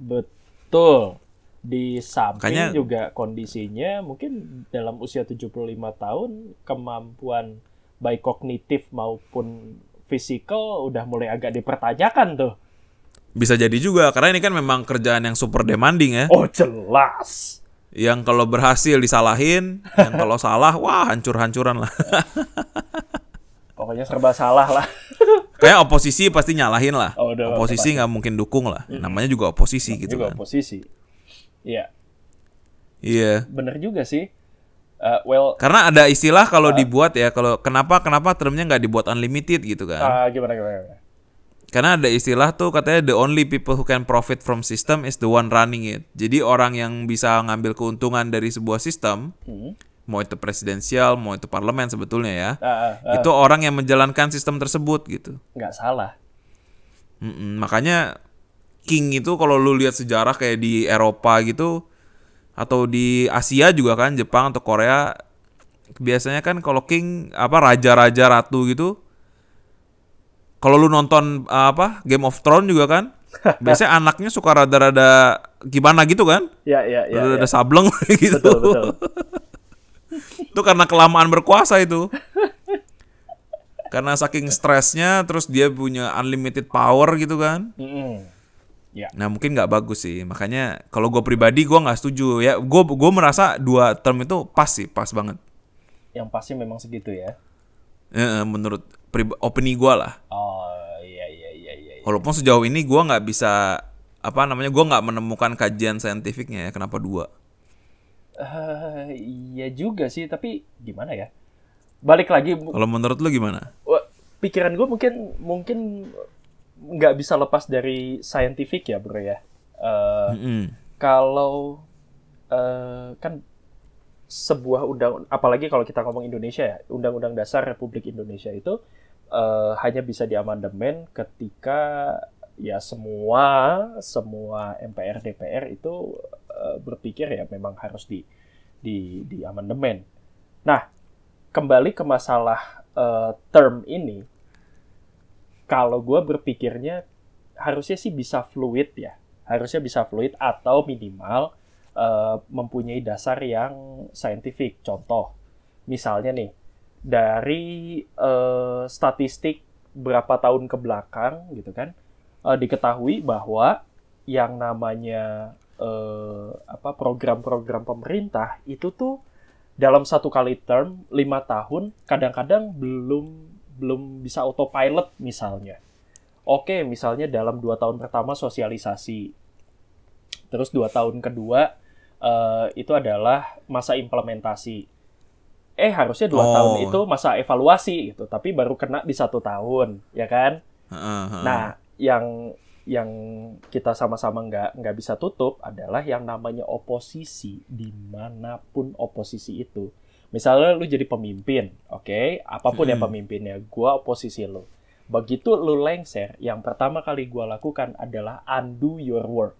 Betul. Di samping
Makanya-
juga kondisinya mungkin dalam usia 75 tahun kemampuan baik kognitif maupun fisikal udah mulai agak dipertanyakan tuh.
Bisa jadi juga karena ini kan memang kerjaan yang super demanding ya.
Oh, jelas.
yang kalau berhasil disalahin, yang kalau salah wah hancur-hancuran lah.
Pokoknya serba salah lah.
Kayak oposisi pasti nyalahin lah.
Oh, udah,
oposisi nggak mungkin dukung lah. Namanya juga oposisi gitu
juga
kan.
posisi. Iya,
Iya.
bener juga sih. Eh, well,
Karena ada istilah
Ah.
kalau dibuat ya kalau kenapa kenapa termnya nggak dibuat unlimited gitu kan.
ah, gimana gimana? gimana?
Karena ada istilah tuh katanya the only people who can profit from system is the one running it. Jadi orang yang bisa ngambil keuntungan dari sebuah sistem,
Hmm.
mau itu presidensial, mau itu parlemen sebetulnya ya.
Ah, ah, ah,
Itu orang yang menjalankan sistem tersebut gitu.
nggak salah.
Mm-mm, makanya King itu kalau lu lihat sejarah kayak di Eropa gitu atau di Asia juga kan Jepang atau Korea biasanya kan kalau King apa raja-raja ratu gitu kalau lu nonton uh, apa Game of Thrones juga kan biasanya anaknya suka rada-rada gimana gitu kan
Ya ya ya.
rada-rada
ya.
sableng gitu
Betul betul.
itu karena kelamaan berkuasa itu karena saking stresnya terus dia punya unlimited power gitu kan
Mm-mm. Ya,
Nah mungkin nggak bagus sih makanya kalau gue pribadi gue nggak setuju ya gue gue merasa dua term itu pas sih pas banget
Yang pasti memang segitu ya.
Eh, eh, menurut prib- opini gue lah
Oh iya iya iya iya.
Walaupun sejauh ini gua nggak bisa apa namanya gua nggak menemukan kajian saintifiknya ya kenapa dua.
Eh, iya juga sih, tapi gimana ya? Balik lagi, mu-
Kalau menurut lu gimana?
wa- pikiran gue mungkin mungkin nggak bisa lepas dari scientific ya, bro ya. Eh,
Mm-mm.
kalau eh, kan sebuah undang, apalagi kalau kita ngomong Indonesia ya, Undang-Undang Dasar Republik Indonesia itu eh, hanya bisa diamandemen ketika ya semua semua MPR DPR itu eh, berpikir ya memang harus di di di amandemen. Nah, kembali ke masalah eh, term ini, kalau gue berpikirnya harusnya sih bisa fluid ya, harusnya bisa fluid atau minimal eh, mempunyai dasar yang scientific. Contoh, misalnya nih dari eh, statistik berapa tahun ke belakang gitu kan eh, diketahui bahwa yang namanya eh, apa program-program pemerintah itu tuh dalam satu kali term lima tahun kadang-kadang belum belum bisa autopilot misalnya oke misalnya dalam dua tahun pertama sosialisasi terus dua tahun kedua eh, itu adalah masa implementasi eh harusnya dua
Oh.
tahun itu masa evaluasi gitu tapi baru kena di satu tahun ya kan
Heeh, heeh.
Nah, yang yang kita sama-sama nggak nggak bisa tutup adalah yang namanya oposisi dimanapun oposisi itu. Misalnya lu jadi pemimpin, oke, apapun ya
Mm-mm.
pemimpinnya, gua oposisi lu. Begitu lu lengser, yang pertama kali gua lakukan adalah undo your work.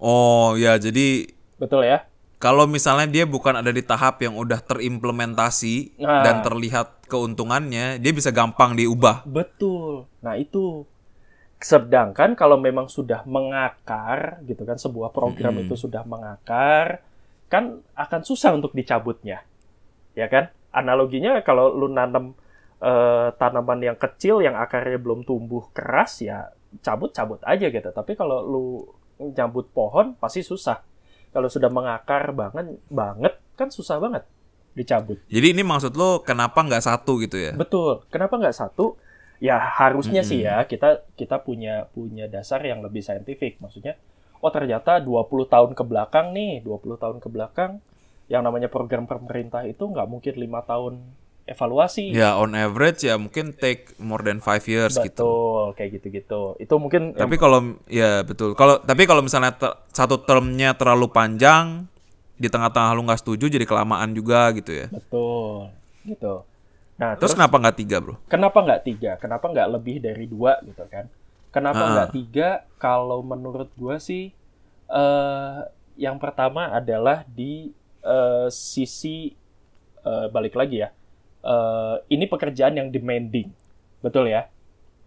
Oh ya jadi
Betul ya?
kalau misalnya dia bukan ada di tahap yang udah terimplementasi
Nah.
dan terlihat keuntungannya, dia bisa gampang diubah.
Betul. Nah, itu. Sedangkan kalau memang sudah mengakar gitu kan sebuah program
Mm-mm.
itu sudah mengakar, kan akan susah untuk dicabutnya. Ya kan? Analoginya kalau lu nanam eh, tanaman yang kecil yang akarnya belum tumbuh keras ya cabut-cabut aja gitu. Tapi kalau lu nyambut pohon pasti susah. Kalau sudah mengakar banget banget kan susah banget dicabut.
Jadi ini maksud lo kenapa nggak satu gitu ya?
Betul. Kenapa nggak satu? Ya harusnya
Mm-mm.
sih ya kita kita punya punya dasar yang lebih saintifik. Maksudnya, oh ternyata 20 tahun ke belakang nih, 20 tahun ke belakang yang namanya program pemerintah itu nggak mungkin lima tahun evaluasi.
Ya on average ya mungkin take more than five years gitu.
Betul, kayak gitu-gitu. Itu mungkin yang-
Tapi kalau ya betul. Kalau tapi kalau misalnya ter- satu termnya terlalu panjang di tengah-tengah lu nggak setuju jadi kelamaan juga gitu ya.
betul gitu. Nah,
Terus kenapa nggak tiga bro?
kenapa nggak tiga? Kenapa nggak lebih dari dua gitu kan? Kenapa
Ah.
nggak tiga? Kalau menurut gue sih, eh yang pertama adalah di eh, sisi eh, balik lagi ya. Eh, ini pekerjaan yang demanding, betul ya?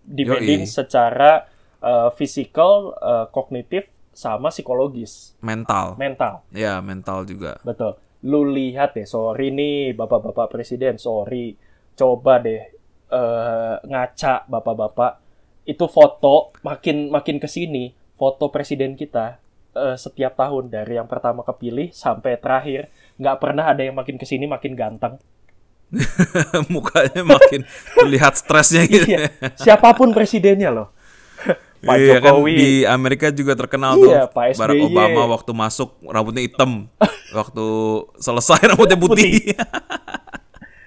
Demanding
Yoi.
secara eh, physical, eh, kognitif, sama psikologis,
Mental.
mental.
Ya mental juga.
Betul. Lu lihat deh, sorry nih bapak-bapak presiden, sorry. Coba deh eh, ngaca bapak-bapak. Itu foto makin makin ke sini, foto presiden kita eh, setiap tahun dari yang pertama kepilih sampai terakhir nggak pernah ada yang makin ke sini makin ganteng.
Mukanya makin terlihat stresnya gitu.
Iya, siapapun presidennya loh. Pak
Iya kan
Jokowi.
di Amerika juga terkenal
Iya,
tuh
Pak
Barack
SBY.
Obama waktu masuk rambutnya hitam, waktu selesai rambutnya putih.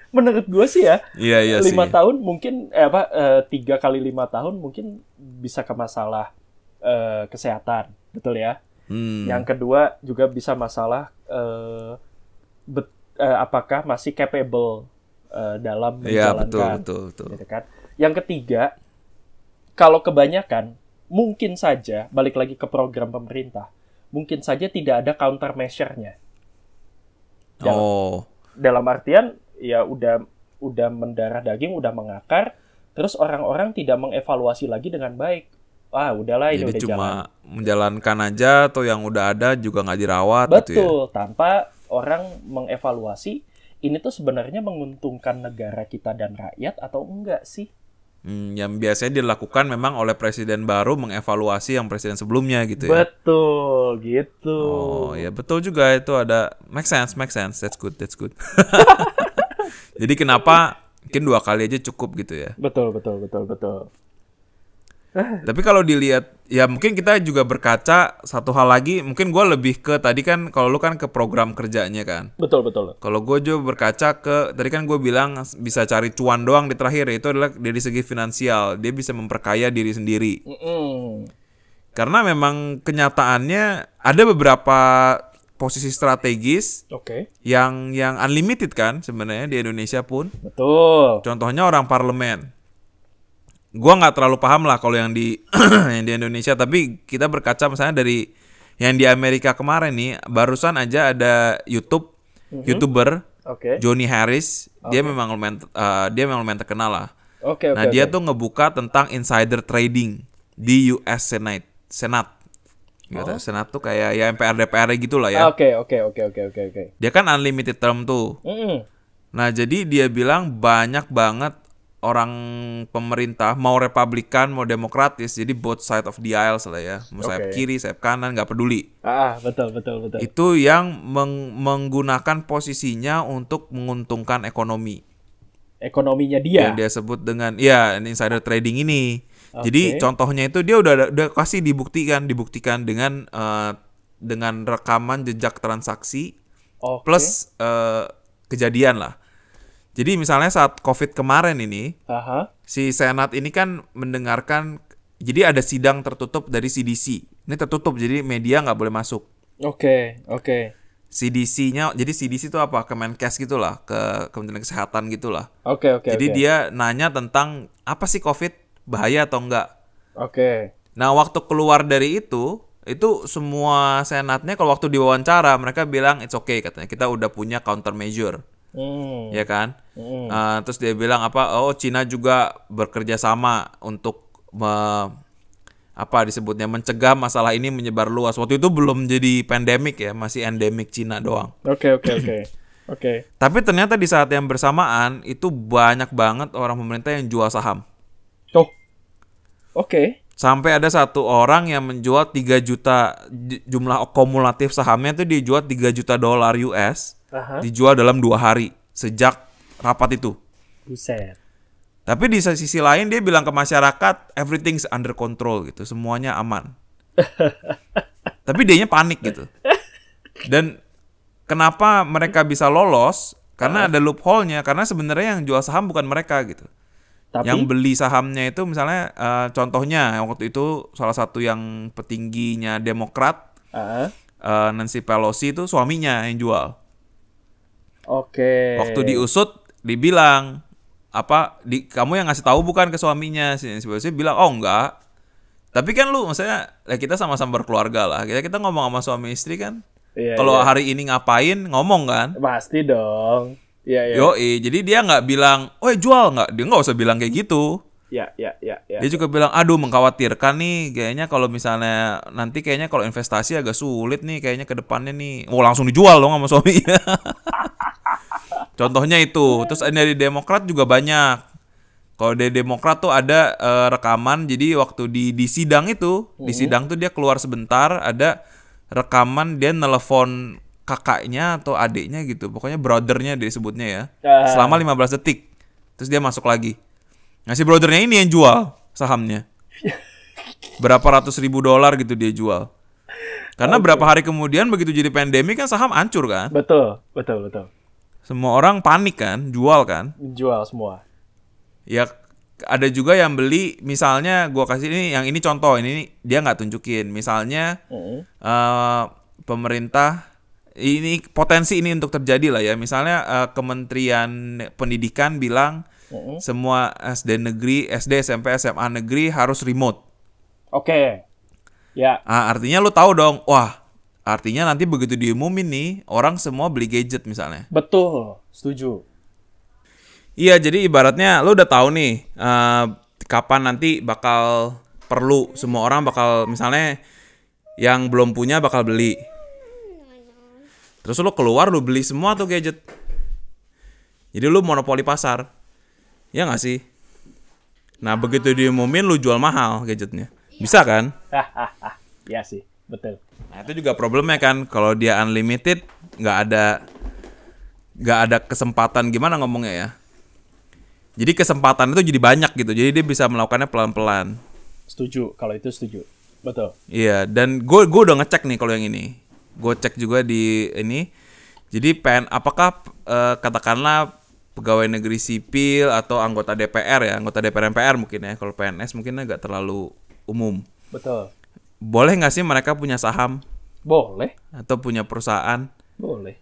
Menurut gue sih ya,
Iya iya sih.
lima tahun mungkin eh, apa eh, tiga kali lima tahun mungkin bisa ke masalah eh, kesehatan, betul ya?
Hmm.
Yang kedua juga bisa masalah eh, bet- eh, apakah masih capable eh, dalam
Iya betul
menjalankan.
betul betul.
gitu kan. Yang ketiga, kalau kebanyakan mungkin saja balik lagi ke program pemerintah, mungkin saja tidak ada countermeasure-nya. Dalam,
Oh
dalam artian ya udah udah mendarah daging, udah mengakar, terus orang-orang tidak mengevaluasi lagi dengan baik. Ah, udahlah ini
jadi
udah
cuma
jalan.
menjalankan aja atau yang udah ada juga nggak dirawat gitu ya.
Betul, tanpa orang mengevaluasi ini tuh sebenarnya menguntungkan negara kita dan rakyat atau enggak sih?
Hmm, yang biasanya dilakukan memang oleh presiden baru mengevaluasi yang presiden sebelumnya gitu ya.
Betul, gitu.
Oh ya betul juga itu ada make sense make sense that's good that's good. Jadi kenapa mungkin dua kali aja cukup gitu ya?
Betul, betul, betul, betul.
Tapi kalau dilihat ya mungkin kita juga berkaca satu hal lagi mungkin gue lebih ke tadi kan kalau lu kan ke program kerjanya kan.
Betul betul.
Kalau gue juga berkaca ke tadi kan gue bilang bisa cari cuan doang di terakhir itu adalah dari segi finansial dia bisa memperkaya diri sendiri.
Mm-mm.
Karena memang kenyataannya ada beberapa posisi strategis
Oke.
yang yang unlimited kan sebenarnya di Indonesia pun.
Betul.
Contohnya orang parlemen. Gua nggak terlalu paham lah kalau yang di yang di Indonesia, tapi kita berkaca misalnya dari yang di Amerika kemarin nih, barusan aja ada YouTube YouTuber
Oke.
Johnny Harris, dia memang lumayan eh, dia memang lumayan terkenal lah.
Oke oke.
Nah, dia tuh ngebuka tentang insider trading di US Senate. Senat. Gitu,
Oh.
Senat tuh kayak ya MPR DPR gitu lah ya.
Ah, Oke oke oke oke oke oke.
Dia kan unlimited term tuh.
Mm-mm.
Nah, jadi dia bilang banyak banget orang pemerintah mau republikan mau demokratis jadi both side of the aisles lah ya mau sayap
Oke.
kiri sayap kanan nggak peduli
Ah betul betul betul.
itu yang meng- menggunakan posisinya untuk menguntungkan ekonomi
Ekonominya dia.
yang Iya, dia sebut dengan ya insider trading ini. Jadi contohnya itu dia udah udah kasih dibuktikan dibuktikan dengan eh, dengan rekaman jejak transaksi
Oke.
plus eh, kejadian lah. Jadi misalnya saat Covid kemarin ini
Aha.
si Senat ini kan mendengarkan jadi ada sidang tertutup dari CDC. Ini tertutup jadi media nggak boleh masuk.
Oke oke.
CDC-nya jadi CDC itu apa? Kemenkes gitulah, ke Kementerian Kesehatan gitulah.
Oke oke.
Jadi
oke.
dia nanya tentang apa sih COVID bahaya atau enggak.
Oke.
Nah waktu keluar dari itu, itu semua senatnya kalau waktu diwawancara mereka bilang it's okay katanya kita udah punya countermeasure,
Hmm.
ya kan?
Mm.
Eh, terus dia bilang apa? Oh Cina juga bekerja sama untuk me- apa disebutnya mencegah masalah ini menyebar luas. Waktu itu belum jadi pandemic ya, masih endemic Cina doang.
Oke oke oke. Oke.
Tapi ternyata di saat yang bersamaan itu banyak banget orang pemerintah yang jual saham.
Tuh. Oke.
Sampai ada satu orang yang menjual 3 juta j- jumlah kumulatif sahamnya itu dijual 3 juta dolar US.
Aha.
Dijual dalam dua hari sejak rapat itu.
Buset.
Tapi di sisi lain dia bilang ke masyarakat everything's under control gitu, semuanya aman. Tapi dianya panik gitu. Dan kenapa mereka bisa lolos? Karena ada loophole-nya. Karena sebenarnya yang jual saham bukan mereka gitu.
Tapi
Yang beli sahamnya itu misalnya eh, contohnya waktu itu salah satu yang petingginya Demokrat eh,
Ah,
Nancy Pelosi itu suaminya yang jual.
Oke.
Waktu diusut dibilang apa di kamu yang ngasih tahu bukan ke suaminya si si Pelosi bilang oh enggak. Tapi kan lu maksudnya ya kita sama-sama berkeluarga lah. Kita kita ngomong sama suami istri kan.
Iya,
Kalau
iya.
hari ini ngapain ngomong kan.
pasti dong. Iya iya.
Yoi, jadi dia nggak bilang, "Oh, jual nggak?" Dia nggak usah bilang kayak gitu.
Ya ya ya ya.
Dia juga bilang, aduh mengkhawatirkan nih, kayaknya kalau misalnya nanti kayaknya kalau investasi agak sulit nih, kayaknya ke depannya nih, mau langsung dijual dong sama suaminya. Contohnya itu, terus ada di Demokrat juga banyak. Kalau dari Demokrat tuh ada eh, rekaman, jadi waktu di di sidang itu, di sidang tuh dia keluar sebentar, ada rekaman dia nelpon kakaknya atau adiknya gitu, pokoknya brothernya dia sebutnya ya,
Ah.
selama 15 detik, terus dia masuk lagi. Nah si brothernya ini yang jual sahamnya. Berapa ratus ribu dolar gitu dia jual. Karena berapa hari kemudian begitu jadi pandemi kan saham hancur kan.
Betul betul betul.
Semua orang panik kan, jual kan.
Jual semua.
Ya ada juga yang beli misalnya gua kasih ini yang ini contoh ini dia nggak tunjukin misalnya
Mm.
eh pemerintah ini potensi ini untuk terjadi lah ya misalnya eh, Kementerian Pendidikan bilang
Mm-mm.
semua SD negeri SD SMP SMA negeri harus remote
Oke. Ya.
Ah, artinya lu tahu dong, wah, artinya nanti begitu diumumin nih, orang semua beli gadget misalnya.
Betul. Setuju.
Iya, jadi ibaratnya lu udah tahu nih eh, kapan nanti bakal perlu semua orang bakal misalnya yang belum punya bakal beli. Terus lu keluar lu beli semua tuh gadget. Jadi lu monopoli pasar. Ya nggak sih? Nah, begitu diumumin lu jual mahal gadgetnya. Bisa kan?
Hahaha. ya sih. Betul.
Nah itu juga problemnya kan kalau dia unlimited nggak ada nggak ada kesempatan gimana ngomongnya ya. Jadi kesempatan itu jadi banyak gitu. Jadi dia bisa melakukannya pelan-pelan.
Setuju, kalau itu setuju. Betul.
Iya, dan gue gue udah ngecek nih kalau yang ini. Gue cek juga di ini. Jadi PN apakah eh, katakanlah pegawai negeri sipil atau anggota DPR ya, anggota DPR MPR mungkin ya. Kalau PNS mungkin agak terlalu umum.
Betul.
Boleh nggak sih mereka punya saham
Boleh.
atau punya perusahaan?
Boleh.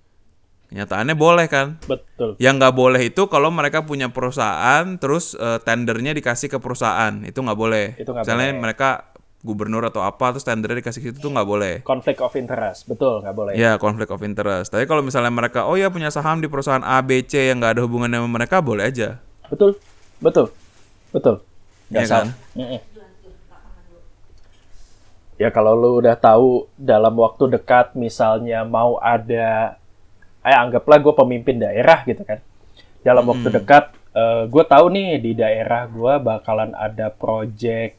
Kenyataannya boleh kan?
Betul.
Yang nggak boleh itu kalau mereka punya perusahaan terus eh, tendernya dikasih ke perusahaan itu nggak boleh.
Itu nggak
Misalnya mereka gubernur atau apa terus tendernya dikasih ke situ tuh
Iya.
nggak boleh.
Conflict of interest. Betul, nggak boleh.
Ya konflik of interest. Tapi kalau misalnya mereka oh ya punya saham di perusahaan A, B, C yang nggak ada hubungannya sama mereka boleh aja.
Betul. Betul. Betul. Nggak
Iya
salah.
kan?
Mm-mm. Ya kalau lu udah tahu dalam waktu dekat misalnya mau ada eh anggaplah gue pemimpin daerah gitu kan. Dalam waktu dekat gue tahu nih di daerah gue bakalan ada proyek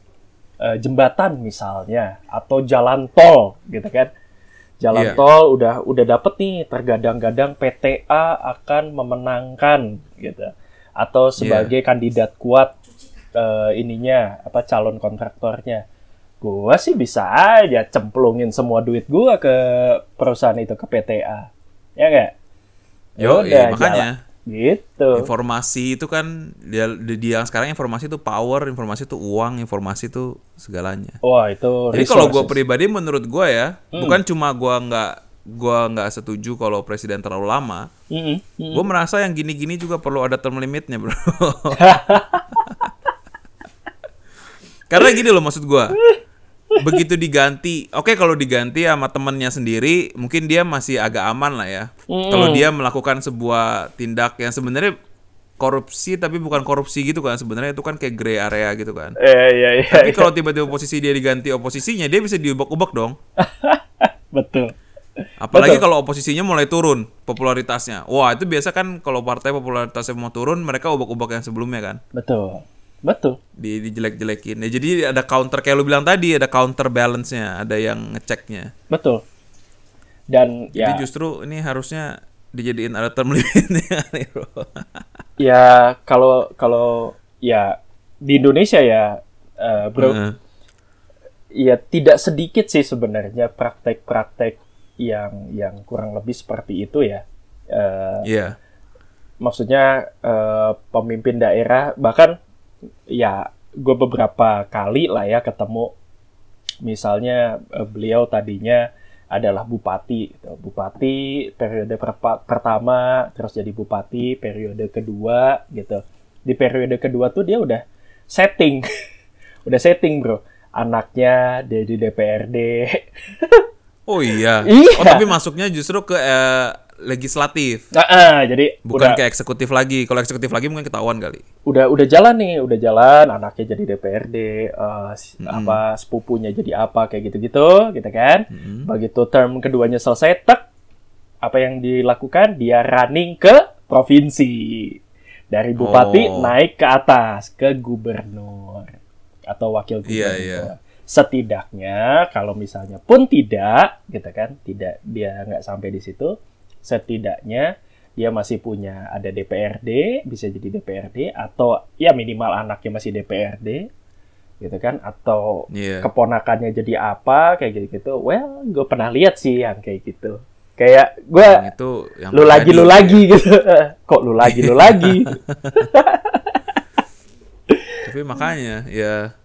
eh, jembatan misalnya atau jalan tol gitu kan. Jalan
Iya.
tol udah udah dapet nih tergadang-gadang PTA akan memenangkan gitu atau sebagai
Iya.
kandidat kuat eh, ininya apa calon kontraktornya gua sih bisa aja cemplungin semua duit gua ke perusahaan itu ke PTA ya nggak Ya
Yo,
udah,
iya, makanya
jalan. gitu
informasi itu kan dia, di yang sekarang informasi itu power, informasi itu uang, informasi itu segalanya.
wah itu
Jadi kalau gue
resources.
pribadi menurut gue ya bukan cuma gue nggak gue nggak setuju kalau presiden terlalu lama.
Mm-mm, mm-mm.
Gue merasa yang gini-gini juga perlu ada term limitnya, bro. Karena gini loh maksud gua. Begitu diganti, oke kalau diganti sama temennya sendiri, mungkin dia masih agak aman lah ya. Kalau dia melakukan sebuah tindak yang sebenarnya korupsi tapi bukan korupsi gitu kan, sebenarnya itu kan kayak gray area gitu kan.
Eh, iya, iya,
Tapi
iya.
kalau tiba-tiba posisi dia diganti oposisinya, dia bisa diubek-ubek dong.
betul
Apalagi kalau oposisinya mulai turun popularitasnya. Wah, itu biasa kan kalau partai popularitasnya mau turun, mereka ubak-ubak yang sebelumnya kan.
betul betul
Di dijelek-jelekin. Ya, jadi ada counter kayak lu bilang tadi, ada counter balance-nya, ada yang ngeceknya.
betul dan
Jadi
ya
justru ini harusnya dijadiin ada term limitnya nih, bro.
ya kalau kalau ya di Indonesia ya eh, bro
Heeh.
ya tidak sedikit sih sebenarnya praktek-praktek yang yang kurang lebih seperti itu ya. Eh,
Iya.
maksudnya eh, pemimpin daerah bahkan ya gue beberapa kali lah ya ketemu misalnya eh, beliau tadinya adalah bupati gitu. bupati periode perpa- pertama terus jadi bupati periode kedua gitu di periode kedua tuh dia udah setting udah setting bro anaknya dia di DPRD
Oh iya. Oh,
Iya.
tapi masuknya justru ke eh, legislatif,
Nah, ah, jadi udah-
bukan ke eksekutif lagi. Kalau eksekutif lagi mungkin ketahuan kali.
udah udah jalan nih, udah jalan, anaknya jadi DPRD, eh, s- apa sepupunya jadi apa kayak gitu-gitu, gitu kan.
Hmm.
Begitu term keduanya selesai, tek apa yang dilakukan dia running ke provinsi. Dari bupati
Oh.
naik ke atas ke gubernur atau
Iya,
wakil gubernur.
iya.
Setidaknya kalau misalnya pun tidak, gitu kan, tidak dia nggak sampai di situ, setidaknya dia masih punya ada DPRD, bisa jadi DPRD atau ya minimal anaknya masih DPRD, gitu kan, atau
Iya.
keponakannya jadi apa kayak gitu gitu. Well, gue pernah lihat sih yang kayak gitu. Kayak gue
Yang itu Iya, yang ya."
lu lagi
terjadi.
lu lagi gitu. Kok lu lagi lu lagi?
tapi makanya ya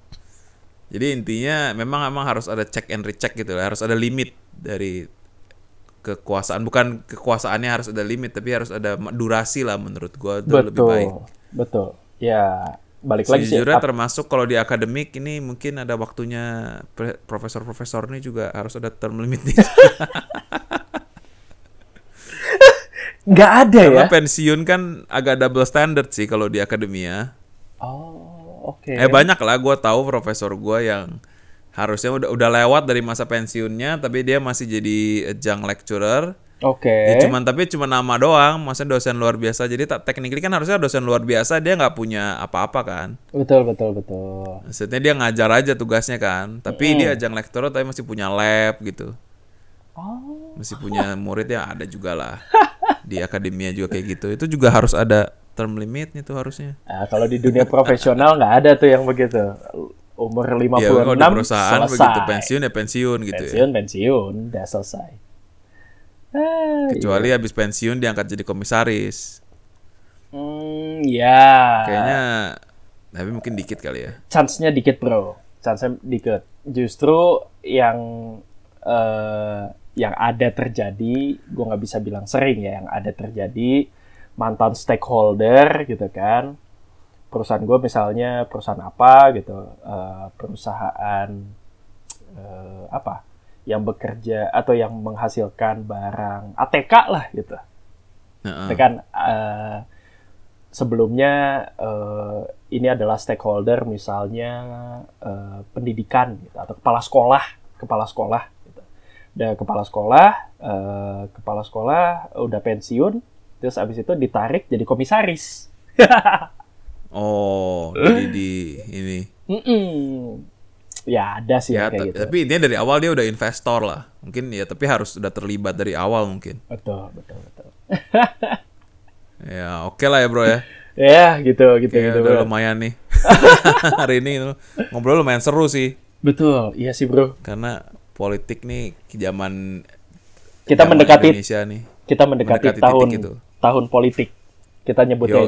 jadi intinya memang emang harus ada check and recheck gitu lah. harus ada limit dari kekuasaan bukan kekuasaannya harus ada limit tapi harus ada ma- durasi lah menurut gua itu lebih baik
Betul. Betul. Ya, balik lagi sih.
sejujurnya termasuk kalau di akademik ini mungkin ada waktunya pre- profesor-profesor ini juga harus ada term limit nih.
Iya. Nggak ada ya.
karena pensiun kan agak double standard sih kalau di akademia
Oh, oke.
Eh banyak lah gue tahu profesor gue yang harusnya udah udah lewat dari masa pensiunnya tapi dia masih jadi adjunct lecturer.
Oke.
Ya cuman tapi cuma nama doang, maksudnya dosen luar biasa. Jadi tak technically kan harusnya dosen luar biasa dia nggak punya apa-apa kan.
Betul, betul, betul.
Maksudnya dia ngajar aja tugasnya kan.
Iya.
Tapi dia adjunct lecturer tapi masih punya lab gitu.
Oh.
Masih punya murid ya ada juga lah. Di akademia juga kayak gitu. Itu juga harus ada term limitnya tuh harusnya.
Nah, kalau di dunia profesional nggak ada tuh yang begitu. umur
Ya,
56
kalau di perusahaan
selesai.
begitu pensiun ya pensiun gitu ya.
pensiun, pensiun, udah selesai. Ah,
Kecuali habis pensiun diangkat jadi komisaris.
hmm, ya.
Kayaknya tapi mungkin dikit kali ya.
chance-nya dikit, Bro. Chance-nya dikit. Justru yang eh, yang ada terjadi, gue nggak bisa bilang sering ya, yang ada terjadi mantan stakeholder gitu kan. Perusahaan gue misalnya perusahaan apa gitu, eh, perusahaan eh, apa yang bekerja atau yang menghasilkan barang ATK lah gitu.
Heeh.
Itu kan eh, sebelumnya eh, ini adalah stakeholder misalnya eh, pendidikan gitu, atau kepala sekolah, kepala sekolah. Gitu. Udah kepala sekolah, eh, kepala sekolah udah pensiun, terus abis itu ditarik jadi komisaris.
Oh, jadi di ini.
Mm-mm. Ya ada sih
Ya,
yang kayak
ta-
gitu.
tapi intinya dari awal dia udah investor lah. Mungkin ya, tapi harus udah terlibat dari awal mungkin.
Betul, betul, betul.
Ya, oke lah ya bro ya.
Ya gitu, gitu,
Kayaknya
gitu.
udah
bro.
lumayan nih. Hari ini ngobrol lumayan seru sih.
Betul, iya sih bro.
Karena politik nih zaman
Kita
zaman Ya,
mendekati
Indonesia nih.
kita mendekati,
Mendekati titik
tahun
itu.
tahun politik. Kita nyebutnya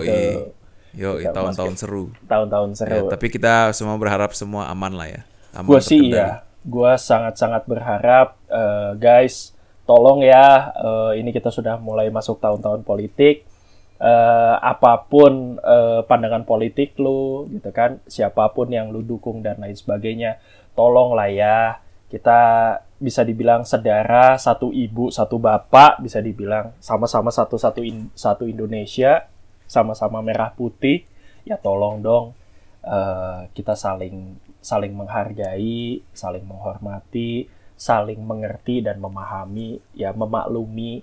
Yo, yo,
itu
tahun-tahun seru.
tahun-tahun
Ya,
seru.
tapi kita semua berharap semua aman lah ya. Aman
Gue
terkendali.
sih iya, gue sangat-sangat berharap eh, guys, tolong ya, eh, ini kita sudah mulai masuk tahun-tahun politik. Eh, apapun eh, pandangan politik lu, gitu kan, siapapun yang lu dukung dan lain sebagainya, tolong lah ya, kita bisa dibilang sedara satu ibu satu bapak bisa dibilang sama-sama satu satu in- satu Indonesia sama-sama merah putih ya tolong dong eh, kita saling saling menghargai saling menghormati saling mengerti dan memahami ya memaklumi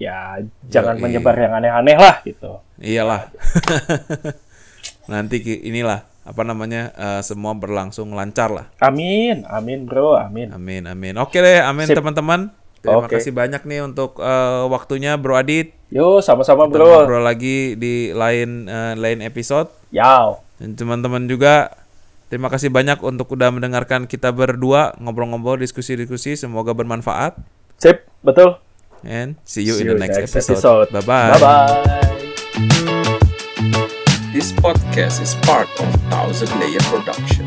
ya jangan
Yoi.
menyebar yang aneh-aneh lah gitu
Iyalah. Nanti ki- inilah apa namanya eh, semua berlangsung lancar lah.
amin amin bro amin
Amin amin. Oke deh, amin
Sip.
teman-teman. Terima
Oke.
kasih banyak nih untuk eh, waktunya Bro Adit.
yo sama-sama
Kita
bro
ngobrol lagi di lain eh, lain episode.
yao
Dan teman-teman juga terima kasih banyak untuk udah mendengarkan kita berdua ngobrol-ngobrol, diskusi-diskusi. Semoga bermanfaat.
sip betul
And see you
See
in the next, episode. Bye-bye.
bye bye
This podcast is part of Thousand Layer Production.